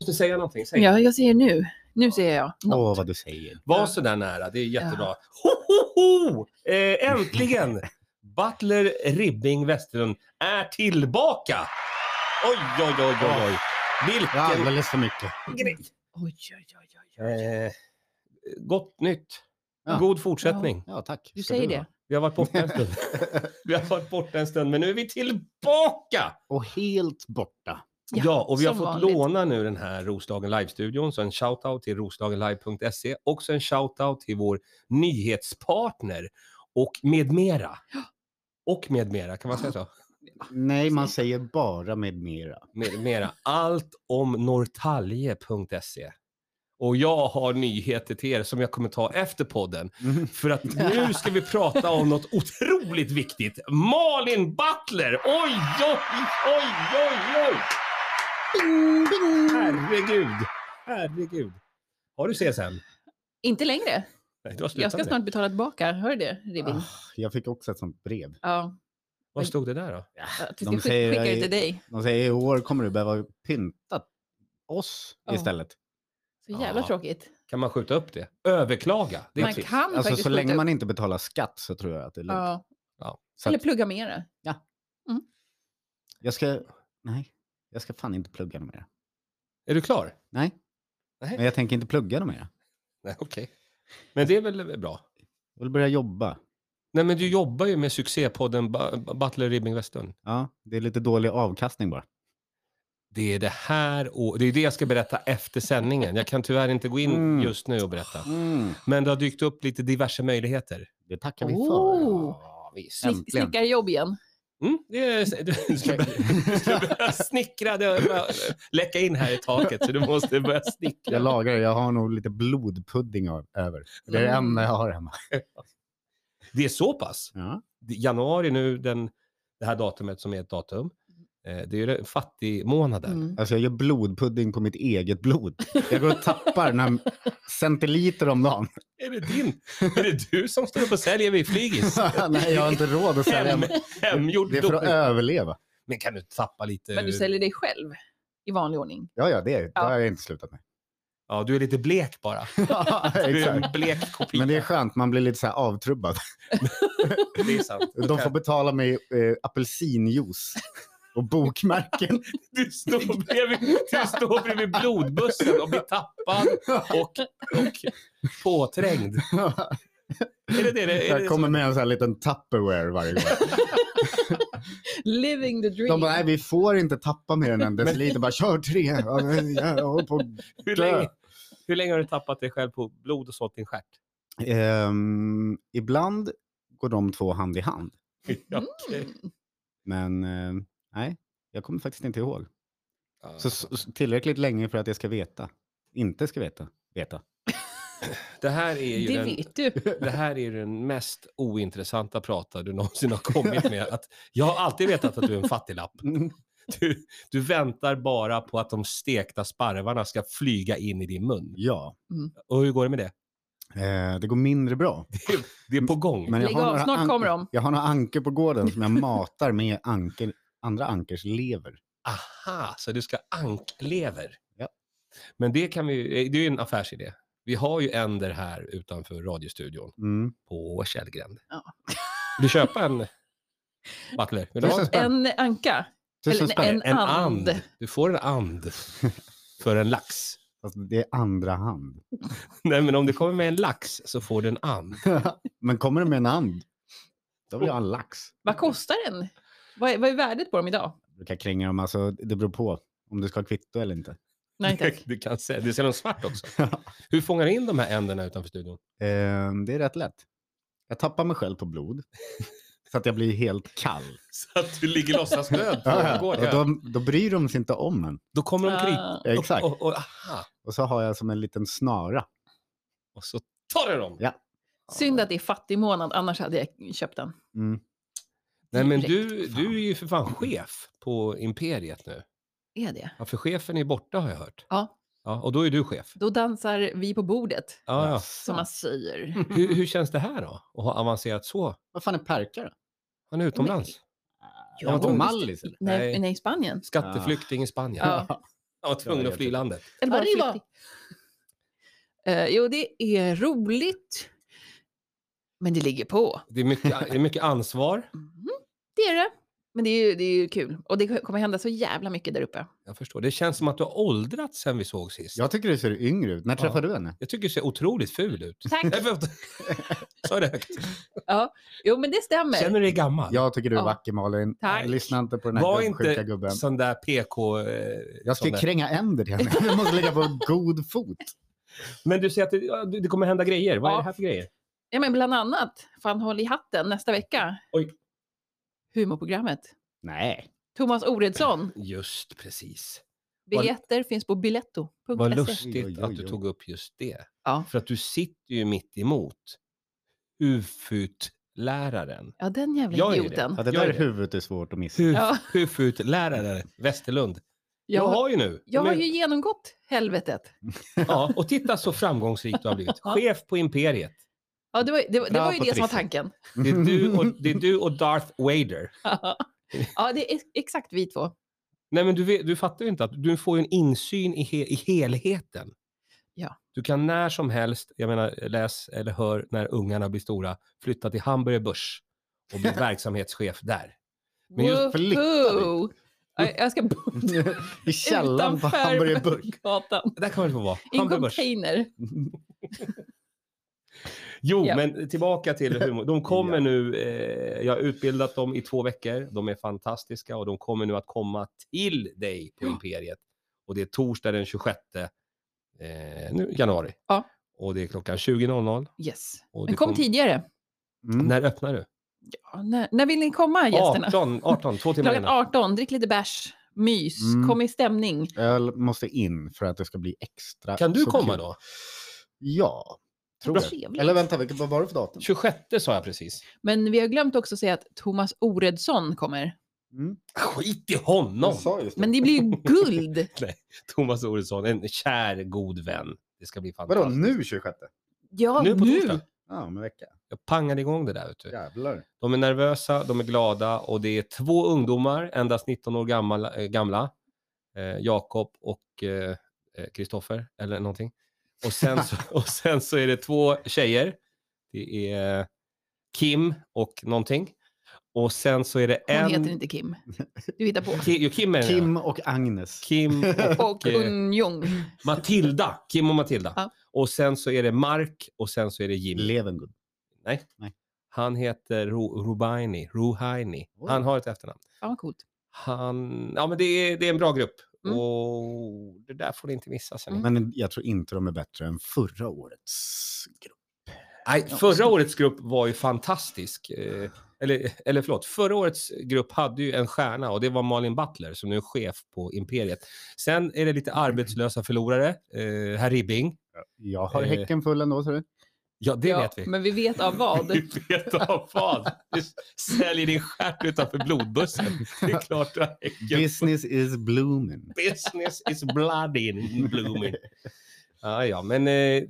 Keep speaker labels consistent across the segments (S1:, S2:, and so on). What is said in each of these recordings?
S1: måste säga någonting. Säg.
S2: Ja, jag ser nu. Nu ser jag.
S3: Åh, vad du säger.
S1: Var så där nära, det är jättebra. Ho, ho, ho! Eh, äntligen! Butler Ribbing Westerlund är tillbaka! Oj, oj, oj, oj, oj.
S3: Ja,
S1: Vilken
S3: Alldeles för mycket.
S1: grej!
S2: Oj, oj, oj, oj. oj.
S1: Eh, gott nytt.
S3: Ja.
S1: God fortsättning.
S3: Ja, tack.
S2: Du
S3: Ska
S2: säger
S3: ha.
S2: det.
S1: Vi har varit borta en stund. vi har varit borta en stund, men nu är vi tillbaka!
S3: Och helt borta.
S1: Ja,
S2: Ja,
S1: och vi har
S2: som
S1: fått
S2: vanligt.
S1: låna nu den här Roslagen Live-studion, så en shoutout till roslagenlive.se. Också en shoutout till vår nyhetspartner och med mera. Och med mera, kan man säga så?
S3: Nej, man säger bara med mera.
S1: Med mera. Allt om norrtalje.se. Och jag har nyheter till er som jag kommer ta efter podden. För att nu ska vi prata om något otroligt viktigt. Malin Butler! Oj, oj, oj, oj, oj! Herregud! Herregud! Har du CSN?
S2: Inte längre.
S1: Nej, du har
S2: Jag
S1: slutat
S2: ska
S1: med det.
S2: snart betala tillbaka. Hör du det, Ribbing?
S3: Ah, jag fick också ett sånt brev.
S2: Ja.
S1: Vad stod det där då?
S2: Att vi
S3: de
S2: ska
S3: säger-
S2: skick- skicka det till dig.
S3: De säger i år kommer du behöva pynta oss
S2: Ja.
S3: istället.
S2: Så jävla
S1: Ja.
S2: tråkigt.
S1: Kan man skjuta upp det? Överklaga? Det är
S2: Man
S1: trist.
S2: kan
S3: Alltså
S2: faktiskt
S3: så länge
S2: skjuta
S3: man
S2: upp-
S3: inte betalar skatt så tror jag att det är lugnt.
S2: Ja.
S3: Så
S2: Eller
S3: att
S2: plugga mera.
S3: jag ska, nej, jag ska fan inte plugga dem mer.
S1: Är du klar?
S3: Nej.
S1: Nej.
S3: Men jag tänker inte plugga dem mer.
S1: Nej, okej. Men det är väl bra?
S3: Jag vill börja jobba.
S1: Nej, men du jobbar ju med succépodden Ba- Butler Ribbing Westlund.
S3: Ja, det är lite dålig avkastning bara.
S1: Det är det här och det är det jag ska berätta efter sändningen. Jag kan tyvärr inte gå in
S3: Mm.
S1: just nu och berätta.
S2: Mm.
S1: Men det har dykt upp lite diverse möjligheter.
S3: Det tackar vi
S2: Oh.
S3: för.
S1: Ja, visst.
S2: Snick,
S3: Äntligen.
S2: Snickarjobb igen.
S1: Mm, det är, du ska börja,
S2: Oh.
S1: du ska börja snickra. Det har- läcka in här i taket så du måste börja
S3: Jag
S1: snickra.
S3: lagar det. Jag har nog lite blodpudding av- över. Det är det
S2: Mm.
S3: enda jag har hemma.
S1: Det är så pass.
S3: Ja.
S1: Det- Januari nu, den, det här datumet som är ett datum.
S3: Mm.
S1: eh, Det är ju den fattigmånaden.
S2: Mm.
S3: Alltså jag gör blodpudding på mitt eget blod. Jag går och tappar några centiliter om dagen.
S1: Är det din? Är det du som står upp och säljer vid Flygis?
S3: Nej, jag har inte råd att sälja.
S1: Hem,
S3: mig.
S1: hemgjord
S3: Det är för att
S1: blod.
S3: överleva.
S1: Men kan du tappa lite?
S2: Men du säljer dig själv i vanlig ordning.
S3: Ja, ja, det, det
S2: Ja.
S3: har jag inte slutat med.
S1: Ja, du är lite blek bara.
S3: Ja,
S1: Du är en
S3: exakt.
S1: blek kopia.
S3: Men det är skönt, man blir lite så här avtrubbad.
S1: Det är sant.
S3: De får betala mig eh, apelsinjuice och bokmärken.
S1: Du står bredvid, du står bredvid blodbussen och blir tappad och, och påträngd. Är det det? Är det, är
S3: Jag
S1: det
S3: kommer med en sån här liten Tupperware varje gång.
S2: Living the dream.
S3: De bara, nej vi får inte tappa mer än en deciliter. Bara, kör tre. Ja, men Jag håller på att
S1: hur,
S3: dö.
S1: länge, hur länge har du tappat dig själv på blod och sånt i din stjärt?
S3: Ehm, ibland går de två hand i hand.
S1: Ja, okej.
S2: Mm.
S3: Men eh, nej, jag kommer faktiskt inte ihåg.
S1: Ja.
S3: Så, så så tillräckligt länge för att jag ska veta. Inte ska veta. Veta.
S1: Det här är ju
S2: Det
S1: den,
S2: vet du.
S1: det här är den mest ointressanta prata du någonsin har kommit med. Att jag har alltid vetat att du är en fattiglapp. Du, du väntar bara på att de stekta sparvarna ska flyga in i din mun.
S3: Ja,
S1: Och hur går det med det?
S3: eh, det går mindre bra.
S1: Det är på gång.
S3: Men
S2: Lägg av,
S3: några
S2: snart
S3: an-
S2: kommer de.
S3: Jag har några anker på gården som jag matar med anker, andra ankers lever.
S1: Aha, så du ska anklever.
S3: Ja.
S1: Men det kan vi eh, det är ju en affärsidé. Vi har ju en där här utanför radiostudion
S3: Mm.
S1: på Källgränd.
S2: Ja.
S1: Vill du köpa en Butler? Vill du ha
S3: Tusen
S1: en?
S3: spänn.
S2: En anka.
S3: Tusen
S2: Eller
S3: spänn.
S2: en- and.
S1: Du får en and för en lax.
S3: Fast det är andra hand.
S1: Nej, men om du kommer med en lax så får du en and.
S3: Men kommer det med en hand, då vill jag ha en lax.
S2: Vad kostar den? Vad är, vad är värdet på dem idag?
S3: Jag brukar kränga dem, alltså det beror på om du ska ha kvitto eller inte.
S2: Nej tack.
S1: Du kan se, du ser dem svart också. Hur fångar du in de här änderna utanför studion?
S3: Ehm, det är rätt lätt. Jag tappar mig själv på blod. Så att jag blir helt kall.
S1: Så att du ligger låtsasdöd på
S3: Ja,
S1: gården.
S3: och då, då bryr de sig inte om en.
S1: Då kommer de krypa
S2: Ah.
S1: upp
S3: Exakt.
S1: Och, och, aha,
S3: Och så har jag som en liten snara.
S1: och så tar du dem.
S3: Ja.
S2: Synd att det är fattig månad, annars hade jag köpt den.
S3: Mm.
S1: Nej, men
S2: Direkt.
S1: du, du är ju för fan chef på Imperiet nu.
S2: Är det?
S1: Ja, för chefen är borta har jag hört.
S2: Ja.
S1: ja och då är du chef.
S2: Då dansar vi på bordet,
S1: Ja, ja.
S2: som man säger.
S1: Hur, hur känns det här då? Att ha avancerat så?
S3: Vad fan är perka då?
S1: Han är utomlands.
S3: Ja,
S1: visst.
S3: Mallis eller?
S2: Nej,
S1: Nej.
S2: nej. i Spanien.
S1: Skatteflykting i Spanien.
S2: Ja.
S1: Jag var tvungen att fly landet.
S2: Eller bara
S3: Arriba!
S2: flykting. Eh, jo, det är roligt. Men det ligger på.
S1: Det är mycket, det är mycket ansvar.
S2: Mhm, Det är det. Men det är, ju, det är ju kul. Och det kommer hända så jävla mycket där uppe.
S1: Jag förstår. Det känns som att du har åldrats sen vi såg sist.
S3: Jag tycker du ser yngre ut. När
S1: Ja.
S3: träffade du henne?
S1: Jag tycker du ser otroligt ful ut.
S2: Tack.
S1: Nej, förlåt. Sa jag det högt?
S2: Jo, men det stämmer.
S1: Känner du dig gammal?
S3: Jag tycker du är
S2: Ja.
S3: vacker Malin.
S2: Tack.
S3: Lyssna inte på den
S1: Var
S3: här
S1: inte-
S3: sjuka gubben.
S1: Sån där PK... eh,
S3: Jag ska
S1: sån där.
S3: kränga änder till henne. Jag måste ligga på god fot.
S1: Men du säger att det, ja, det kommer hända grejer. Vad är
S2: Ja.
S1: det här för grejer?
S2: Ja, men bland annat, fan håll i hatten nästa vecka.
S1: Oj.
S2: Humorprogrammet.
S3: Nej.
S2: Thomas Oredsson.
S1: Just precis. Vad-
S2: Biljetter finns på
S1: Vad
S2: biletto.se.
S1: lustigt
S3: Oj, oj,
S1: att du
S3: oj.
S1: tog upp just det.
S2: E. Ja.
S1: För att du sitter ju mitt emot huvudläraren.
S2: ja, den
S1: Jag
S2: jävla
S1: är ju
S2: idioten.
S3: Ja, det
S1: Gör
S3: där
S1: det.
S3: huvudet är svårt att missa.
S1: Huf,
S2: Ja.
S1: Huvudläraren Westerlund. Jag,
S2: Jag,
S1: har ju nu.
S2: jag
S1: men-
S2: har ju genomgått helvetet.
S1: ja, och titta så framgångsrik du har blivit. Chef på Imperiet.
S2: Ja, det var, det, var- det
S3: Bra
S2: var ju
S3: på
S2: det som var
S3: trissen.
S2: tanken.
S1: Det är du
S2: Mm.
S1: och, det är du och Darth Vader.
S2: ja, det är ex- exakt vi två.
S1: Nej, men du, vet, du fattar ju inte att du får ju en insyn i, he, i helheten.
S2: Ja.
S1: Du kan när som helst, jag menar läs eller hör när ungarna blir stora, flytta till Hamburger Börs och bli verksamhetschef där. Men just
S3: flytta
S2: Woho! Ja, Jag ska bo
S3: I källaren på
S2: utanför
S3: hamburgerburk.
S2: gatan.
S1: Där kan man få vara.
S2: I en
S1: Hamburger Börs.
S2: container.
S1: Jo,
S2: Ja.
S1: men tillbaka till humor. De kommer
S3: Ja.
S1: nu, eh, jag har utbildat dem i två veckor. De är fantastiska och de kommer nu att komma till dig på
S2: Ja.
S1: Imperiet. Och det är torsdag den 26 eh, nu, januari.
S2: Ja.
S1: Och det är klockan 20.00.
S2: Yes.
S1: Och det
S2: Men kom
S1: kom-
S2: tidigare.
S3: Mm.
S1: När öppnar du?
S2: Ja, när, när vill ni komma gästerna?
S1: 18, 18, två timmar
S2: Klockan
S1: innan.
S2: 18, drick lite bärs, mys,
S3: Mm.
S2: kom i stämning.
S3: Öl måste in för att det ska bli extra.
S1: Kan du
S3: så
S1: komma
S3: kul.
S1: då?
S3: Ja, tror
S2: Vad
S3: jag.
S2: trevligt.
S3: Eller vänta, vilket- vad var det för datum?
S1: 26 sa jag precis.
S2: Men vi har glömt också att säga att Thomas Oredsson kommer.
S3: Mm.
S1: Skit i honom!
S3: Jag sa just det.
S2: Men det blir ju guld!
S1: Thomas Oredsson, en kär god vän. Det ska bli fantastiskt.
S3: Vadå, nu 26?
S2: Ja,
S1: Nu
S2: nu!
S1: på torsdag.
S3: Ja, om en vecka.
S1: Jag pangade igång det där. Vet du.
S3: Jävlar.
S1: De är nervösa, de är glada och det är två ungdomar, endast 19 år gamla, eh, gamla eh, Jakob och eh, eh, Kristoffer eller någonting. Och sen, så, och sen så är det två tjejer. Det är Kim och någonting. Och sen så är det
S2: Hon
S1: en...
S2: heter inte Kim. Du hittar på.
S1: Ki- jo, Kim är det.
S3: Kim och Agnes.
S1: Kim och,
S2: Och
S1: eh,
S2: Unjung.
S1: Matilda. Kim och Matilda.
S2: Ja.
S1: Och sen så är det Mark och sen så är det Jimmy.
S3: Levengood.
S1: Nej.
S3: Nej.
S1: Han heter Ru- Rubaini. Ruhaini.
S3: Oj.
S1: Han har ett efternamn.
S2: Ja, vad coolt.
S1: Han, ja men det är, det är en bra grupp.
S2: Mm.
S1: Och det där får ni inte missa. Sen.
S3: Men jag tror inte de är bättre än förra årets grupp.
S1: Nej, förra årets grupp var ju fantastisk. Eh, eller, eller förlåt, förra årets grupp hade ju en stjärna och det var Malin Butler som nu är chef på Imperiet. Sen är det lite arbetslösa förlorare. Eh, herr Ribbing.
S3: Jag har
S1: Eh.
S3: häcken full ändå, ser du.
S1: Ja, det
S2: ja,
S1: vet vi.
S2: Men vi vet av vad.
S1: Du vet av vad. Du säljer din stjärt utanför blodbussen. Det är klart du har häcken.
S3: Business is blooming.
S1: Business is bloody in blooming. Ja, ja, men eh,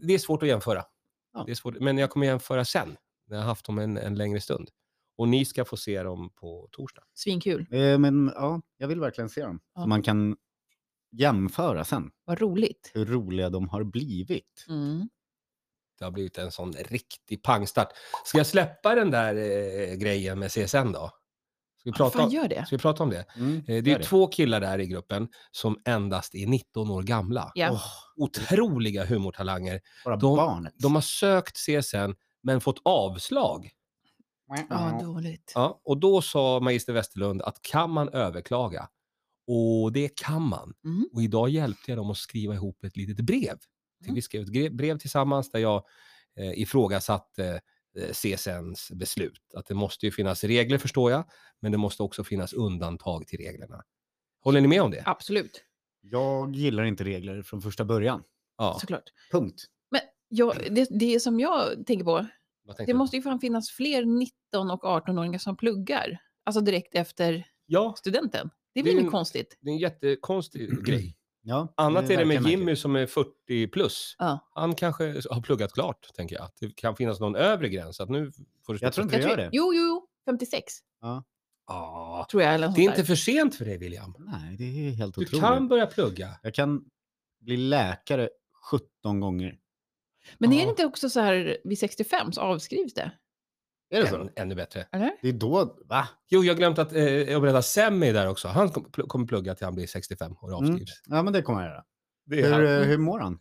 S1: det är svårt att jämföra.
S3: Ja.
S1: Det är svårt, men jag kommer jämföra sen, när jag har haft dem en, en längre stund. Och ni ska få se dem på torsdag.
S2: Svinkul.
S3: Eh, Men ja, jag vill verkligen se dem.
S2: Ja.
S3: Så man kan jämföra sen
S2: Vad roligt.
S3: hur roliga de har blivit.
S2: Mm.
S1: Det har blivit en sån riktig pangstart. Ska jag släppa den där eh, grejen med CSN då? Ska vi
S2: Ja,
S1: prata,
S2: fan,
S1: om,
S2: gör det.
S1: ska vi prata om det?
S3: Mm,
S1: Eh, Det är
S3: gör
S1: ju två killar där i gruppen som endast är 19 år gamla.
S2: Ja.
S1: Åh, otroliga humortalanger.
S3: Bara
S1: de-
S3: barnet.
S1: De har sökt CSN men fått avslag.
S2: Ja, dåligt.
S1: Ja, och då sa magister Westerlund att kan man överklaga? Och det kan man.
S2: Mm.
S1: Och idag hjälpte jag dem att skriva ihop ett litet brev.
S2: Mm.
S1: Vi skrev ett gre- brev tillsammans där jag eh, ifrågasatte eh, CSNs beslut. Att det måste ju finnas regler förstår jag, men det måste också finnas undantag till reglerna. Håller ni med om det?
S2: Absolut,
S3: Jag gillar inte regler från första början.
S1: Ja.
S2: såklart.
S3: Punkt.
S2: Men jag, det, det som jag tänker på,
S1: Vad tänkte
S2: det
S1: du?
S2: måste ju fan finnas fler 19 och 18-åringar som pluggar. Alltså direkt efter
S1: Ja,
S2: studenten. Det är
S1: Det är
S2: väl
S1: ju-
S2: inget konstigt?
S1: det är en jättekonstig grej.
S3: Ja,
S1: Annat är det med
S3: verkar
S1: Jimmy
S3: märkligt.
S1: som är 40 plus.
S2: Ja.
S1: Han kanske har pluggat klart, tänker jag. Att det kan finnas någon övre gräns. Att nu får du
S3: Jag tror
S1: sluta.
S3: inte det gör
S2: tror-
S3: det.
S2: Jo, jo, jo. 56.
S3: Ja.
S1: Ja.
S2: tror jag. Eller något
S1: Det är
S2: sånt
S1: inte
S2: där.
S1: för sent för dig, William.
S3: Nej, det är helt
S1: Du
S3: otroligt.
S1: kan börja plugga.
S3: Jag kan bli läkare 17 gånger.
S2: Men är
S1: Ja.
S2: det inte också så här vid 65 så avskrivs det?
S3: Är det
S1: Än,
S3: så?
S1: ännu bättre.
S3: Det är då, va?
S1: Jo, jag glömde att eh, jag berättade Semmy där också. Han kom- pl- kommer plugga till han blir 65 och det
S3: Mm.
S1: avskrivs.
S3: Ja, men det kommer jag göra.
S1: Det är
S3: Hur,
S1: han.
S3: eh, Mm. hur mår han?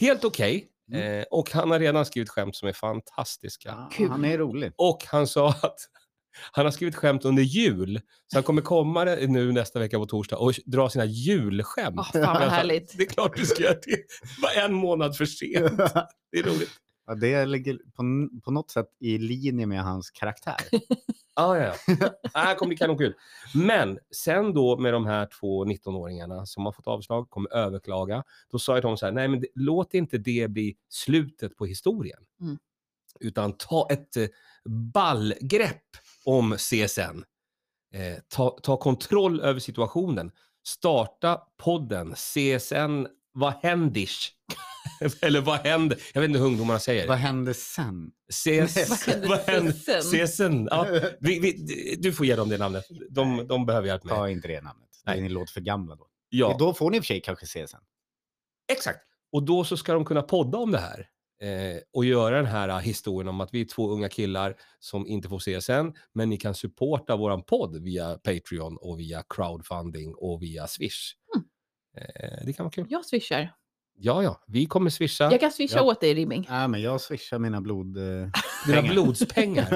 S1: Helt okej. Eh, och han har redan skrivit skämt som är fantastiska.
S3: Ah,
S2: Kul.
S3: Han är rolig.
S1: Och han sa att han har skrivit skämt under jul. Så han kommer komma det nu nästa vecka på torsdag och dra sina julskämt.
S2: Ah, fan vad härligt.
S1: Det är klart du ska göra det. Var en månad för sent. Det är roligt.
S3: Ja, det ligger på, n- på något sätt i linje med hans karaktär.
S1: Ah, ja, ja. Det här kommer bli kanonkul. Men sen då med de här två 19-åringarna som har fått avslag, kommer överklaga. Då sa ju de så här, nej men det, låt inte det bli slutet på historien.
S2: Mm.
S1: Utan ta ett eh, ballgrepp om CSN. Eh, ta, ta kontroll över situationen. Starta podden CSN Vad händish? Eller vad händer? Jag vet inte hur ungdomarna säger.
S3: Vad händer sen?
S1: CS,
S2: Nej,
S1: vad
S2: vad
S1: händer
S2: händer
S1: CSN? Ja, vi, vi, du får ge dem det namnet. De, de behöver hjälp med.
S3: Ta inte det namnet.
S1: Nej.
S3: Nej. Ni låter för gamla då.
S1: Ja,
S3: Då får ni i och för sig kanske se sen.
S1: exakt. Och då så ska de kunna podda om det här. Eh, och göra den här eh, historien om att vi är två unga killar som inte får CSN, men ni kan supporta våran podd via Patreon och via crowdfunding och via Swish.
S2: Mm.
S1: Eh, det kan vara kul.
S2: Jag swishar.
S1: Ja, ja, vi kommer swisha
S2: Jag kan swisha
S3: Ja.
S2: åt dig Rimming.
S3: Nej, men jag swishar mina blod... eh,
S1: dina
S3: pengar.
S1: blodspengar.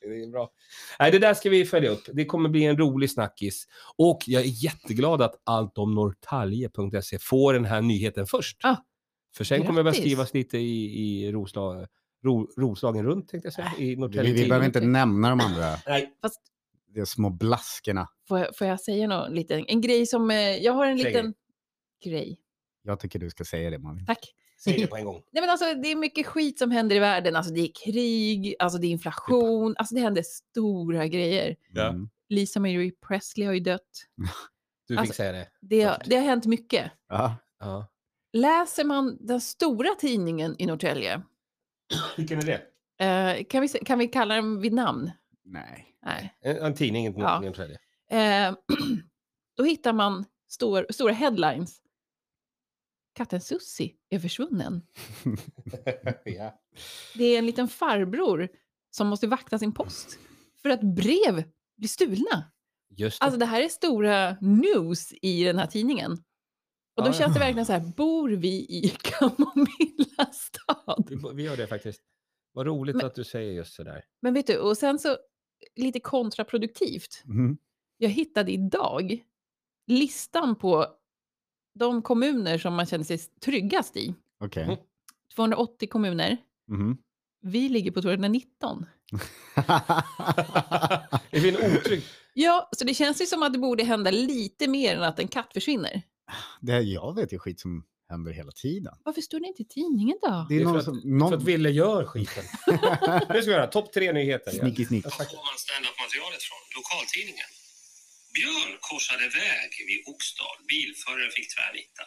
S1: Det är bra. Nej, det där ska vi följa upp. Det kommer bli en rolig snackis. Och jag är jätteglad att allt om Norrtälje.se får den här nyheten först.
S2: Ah,
S1: För sen kommer det börja
S2: grattis.
S1: skrivas lite i, i Rosla, Ro, Roslagen runt, tänkte jag
S2: Äh.
S1: säga. I Norrtälje
S3: vi, vi
S1: Tidning.
S3: behöver inte nämna de andra.
S1: Nej,
S3: De små blaskorna.
S2: Får jag, får jag säga någon liten, en grej som, eh, jag har en
S1: Säg
S2: liten grej.
S3: Jag tycker du ska säga det, Malin.
S2: Tack.
S1: säg det på en gång.
S2: Nej, men alltså, det är mycket skit som händer i världen. Alltså, det är krig, alltså, det är inflation, alltså, det händer stora grejer.
S1: Ja.
S3: Mm.
S2: Lisa Mary Presley har ju dött.
S1: Du fick
S2: Alltså-
S1: säga det.
S2: Det, har- det har hänt mycket.
S3: Ja.
S1: Ja.
S2: Läser man den stora tidningen i Norrtälje,
S1: Vilken är det?
S2: eh, kan, vi, se- kan vi kalla den vid namn?
S3: Nej.
S2: Nej.
S1: En, en tidning, inte
S2: Ja.
S1: ja. Norrtälje.
S2: Eh, då hittar man stor, stora headlines. Katten Sussi är försvunnen.
S1: ja.
S2: Det är en liten farbror som måste vakta sin post för att brev blir stulna.
S1: Just det.
S2: Alltså det här är stora news i den här tidningen. Och då
S1: Ja, ja.
S2: känns det verkligen så här, bor vi i Kamomilla stad?
S1: vi, vi gör det faktiskt. Vad roligt
S2: Men-
S1: att du säger just sådär.
S2: Men vet du, och sen så lite kontraproduktivt.
S3: Mm.
S2: Jag hittade idag listan på de kommuner som man känner sig tryggast i.
S3: Okej.
S1: Mm.
S2: 280 kommuner.
S3: Mhm.
S2: Vi ligger på 219.
S1: Det blir en otrygg...
S2: Ja, så det känns ju som att det borde hända lite mer än att en katt försvinner.
S3: det här, jag vet ju skit som händer hela tiden.
S2: Varför står det inte i tidningen då?
S3: Det är,
S1: Det är för
S3: någon
S1: att-
S3: som...
S1: För
S3: Någon...
S1: att Ville gör skiten. Nu ska vi göra topp tre nyheter. Ja.
S3: Snicky, snick.
S1: Var får man standup-materialet från? Lokaltidningen. Björn korsade väg vid Oxdal. Bilföraren fick tvärnita.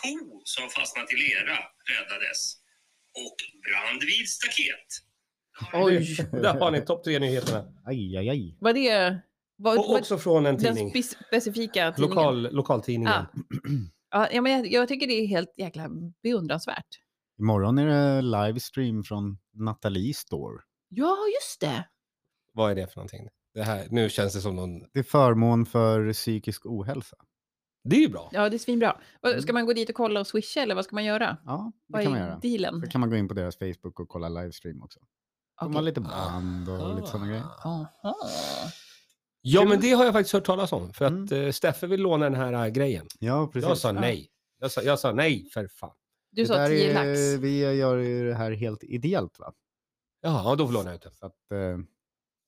S1: Ko som fastnat i lera räddades. Och brand vid staket.
S2: Oj.
S1: Där har ni topp tre nyheterna.
S3: Aj, aj, aj.
S2: Vad det... Vad,
S1: Och
S2: vad-
S1: också från en
S2: den
S1: tidning.
S2: spe- specifika tidningen.
S1: Lokal, lokaltidningen.
S2: Ja. Ja, ja, men jag, jag tycker det är helt jäkla beundransvärt.
S3: Imorgon är det livestream från Nathalie Store.
S2: Ja, just det.
S1: Vad är det för någonting? Det här, nu känns det som någon...
S3: Det är förmån för psykisk ohälsa.
S1: Det är ju bra.
S2: Ja, det är svinbra. Vad- Ska
S3: Mm.
S2: man gå dit och kolla och swisha eller vad ska man göra?
S3: Ja, det
S2: Vad
S3: kan man
S2: är
S3: göra.
S2: dealen?
S3: Så kan man gå in på deras Facebook och kolla livestream också. De har
S2: Okej.
S3: lite band och
S1: Ah.
S3: lite sådana grejer.
S2: Aha.
S1: Ja, men det har jag faktiskt hört talas om. För att eh, Steffe vill låna den här eh, grejen.
S3: Ja, precis.
S1: Jag sa nej. Jag sa, jag sa nej, för fan.
S2: Du
S3: Det
S2: sa
S3: där
S2: 10
S3: är-
S2: lax.
S3: Vi gör ju det här helt ideellt va?
S1: Ja, ja, då får låna ut den.
S3: Så att, eh, det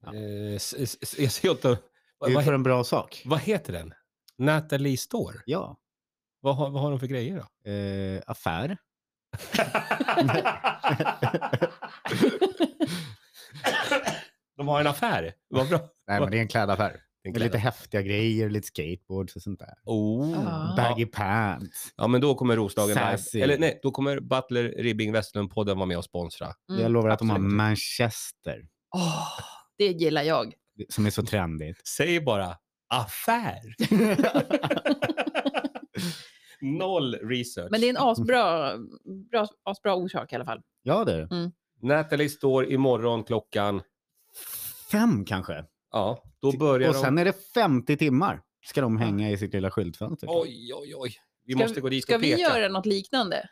S3: Ja.
S1: Eh, s- s- s- Jag ser inte...
S3: är
S1: Vad,
S3: ju
S1: vad,
S3: för
S1: he-
S3: en bra sak.
S1: vad heter den? Natalie Store?
S3: Ja.
S1: Vad har, vad har de för grejer då?
S3: Eh, affär.
S1: de har en affär. Vad bra.
S3: Nej, men det är en klädaffär.
S1: Det
S3: Med lite häftiga grejer, lite skateboards och sånt där.
S1: Oh.
S2: Ah.
S3: Baggy pants.
S1: Ja, men då kommer Roslagen
S3: Sassy.
S1: Live. Eller nej, då kommer Butler Ribbing Westlund podden vara med och sponsra.
S2: Mm,
S3: jag lovar att de har
S1: absolut.
S3: Manchester.
S2: Åh, Det gillar jag.
S3: Som är så
S1: Mm.
S3: trendigt.
S1: Säg bara affär. Noll research.
S2: Men det är en asbra, bra, asbra orsak i alla fall.
S3: ja, det är det.
S1: Natalie står imorgon klockan...
S3: Fem kanske.
S1: Ja, då börjar
S3: Och
S1: de...
S3: sen är det 50 timmar ska de hänga i sitt lilla skyltfönster. typ.
S1: Oj, oj, oj. Vi
S2: Ska-
S1: måste gå dit
S2: Ska
S1: och
S2: vi
S1: peka.
S2: göra något liknande?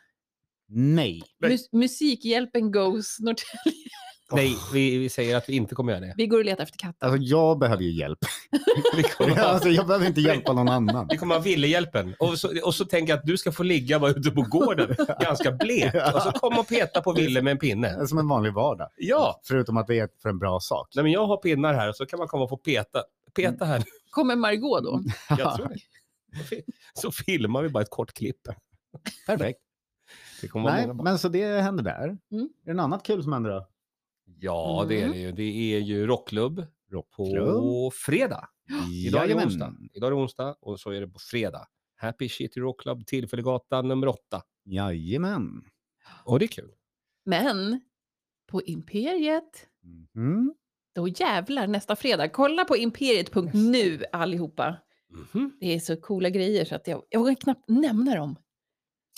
S3: Nej.
S1: Nej.
S2: Mus- musikhjälpen goes Norrtälje.
S1: Nej, vi, vi säger att vi inte kommer göra det.
S2: Vi går och letar efter katten.
S3: Alltså jag behöver ju hjälp.
S1: Vi kommer, ha-
S3: Alltså, jag behöver inte hjälpa någon annan.
S1: vi kommer ha Villehjälpen. Och så, och så tänker jag att du ska få ligga bara ute på gården, ganska blek. Och så kom och peta på Ville med en
S3: Det
S1: pinne.
S3: är Som en vanlig vardag.
S1: Ja,
S3: Förutom att det är för en bra sak.
S1: Nej, men jag har pinnar här och så kan man komma och få peta. Peta här.
S2: Kommer Margot då?
S1: Jag tror det. Så filmar vi bara ett kort klipp.
S3: Perfekt.
S1: Det kommer vara
S3: Nej,
S1: många barn.
S3: men så det händer där.
S2: Mm.
S3: Är det något annat kul som händer då?
S1: Ja, det
S3: Mm.
S1: är det ju. Det är ju rockklubb på fredag. Idag är det
S3: Jajamän.
S1: onsdag. Idag är det onsdag och så är det på fredag. Happy City Rockklubb, Tillfällegatan nummer 8.
S3: Jajamän.
S1: Och det är kul.
S2: Men på Imperiet,
S3: Mm.
S2: då jävlar nästa fredag. Kolla på imperiet.nu allihopa.
S1: Mhm.
S2: Det är så coola grejer så att jag, jag vågar knappt nämna dem.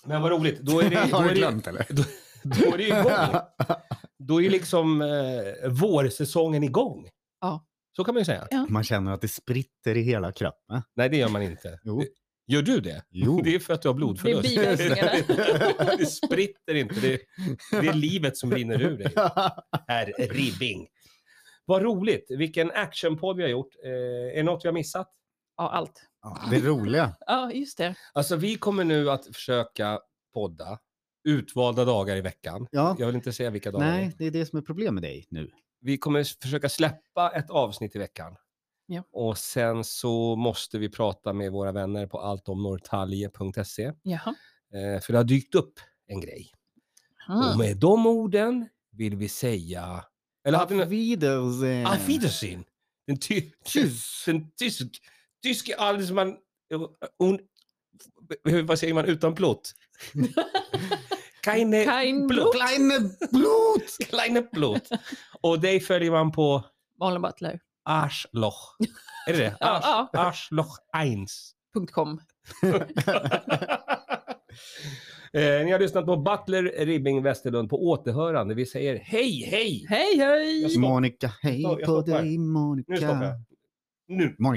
S1: Men vad roligt. Då är det, då
S3: Har du
S1: är det,
S3: glömt eller?
S1: då är det igång. Då är ju liksom eh, vårsäsongen igång.
S2: Ja.
S1: Så kan man ju säga.
S3: Man känner att det spritter i hela kroppen.
S1: Nej, det gör man inte.
S3: Jo.
S1: Gör du det?
S3: Jo.
S1: Det är för att du har blodförlust.
S2: Det är biverkningarna.
S1: det spritter inte. Det, det är livet som rinner ur dig. Herr Ribbing. Vad roligt. Vilken actionpodd vi har gjort. Eh, är det något vi har missat?
S2: Ja, allt.
S3: Ja, det roliga.
S2: Ja, just det.
S1: Alltså, vi kommer nu att försöka podda utvalda dagar i veckan.
S3: Ja.
S1: Jag vill inte säga vilka dagar. det är.
S3: Nej, det är det som är problemet med dig nu.
S1: Vi kommer försöka släppa ett avsnitt i veckan.
S2: Ja.
S1: Och sen så måste vi prata med våra vänner på alltomnorrtalje.se.
S2: Jaha.
S1: Eh, för det har dykt upp en grej.
S3: Ah.
S1: Och
S2: Mm.
S1: med de orden vill vi säga... Eller hade ni...
S2: Eh.
S3: Wiedersehen.
S1: Auf Ah, Wiedersehen! Den, ty...
S3: Tschüss.
S1: den tysk... Tyske adelsman... eh, Un... hur- Vad säger man utan plott? Keine
S2: Kein
S1: plott.
S3: Kleine Blut!
S1: Kleine plott. Och dig följer man på
S2: Malin Butler.
S1: Arschloch. Är det det? Arsch...
S2: Ja, ja.
S1: Arschloch 1.
S2: Punkt com.
S1: eh, ni har lyssnat på Butler Ribbing Westerlund på återhörande. Vi säger hej, hej!
S2: Hej, hej!
S1: Jag stoppar.
S3: Monica, hej
S1: Jag
S3: på
S1: stoppar.
S3: dig
S1: Nu stoppar
S3: Monica.
S1: jag. Nu.
S3: Monica.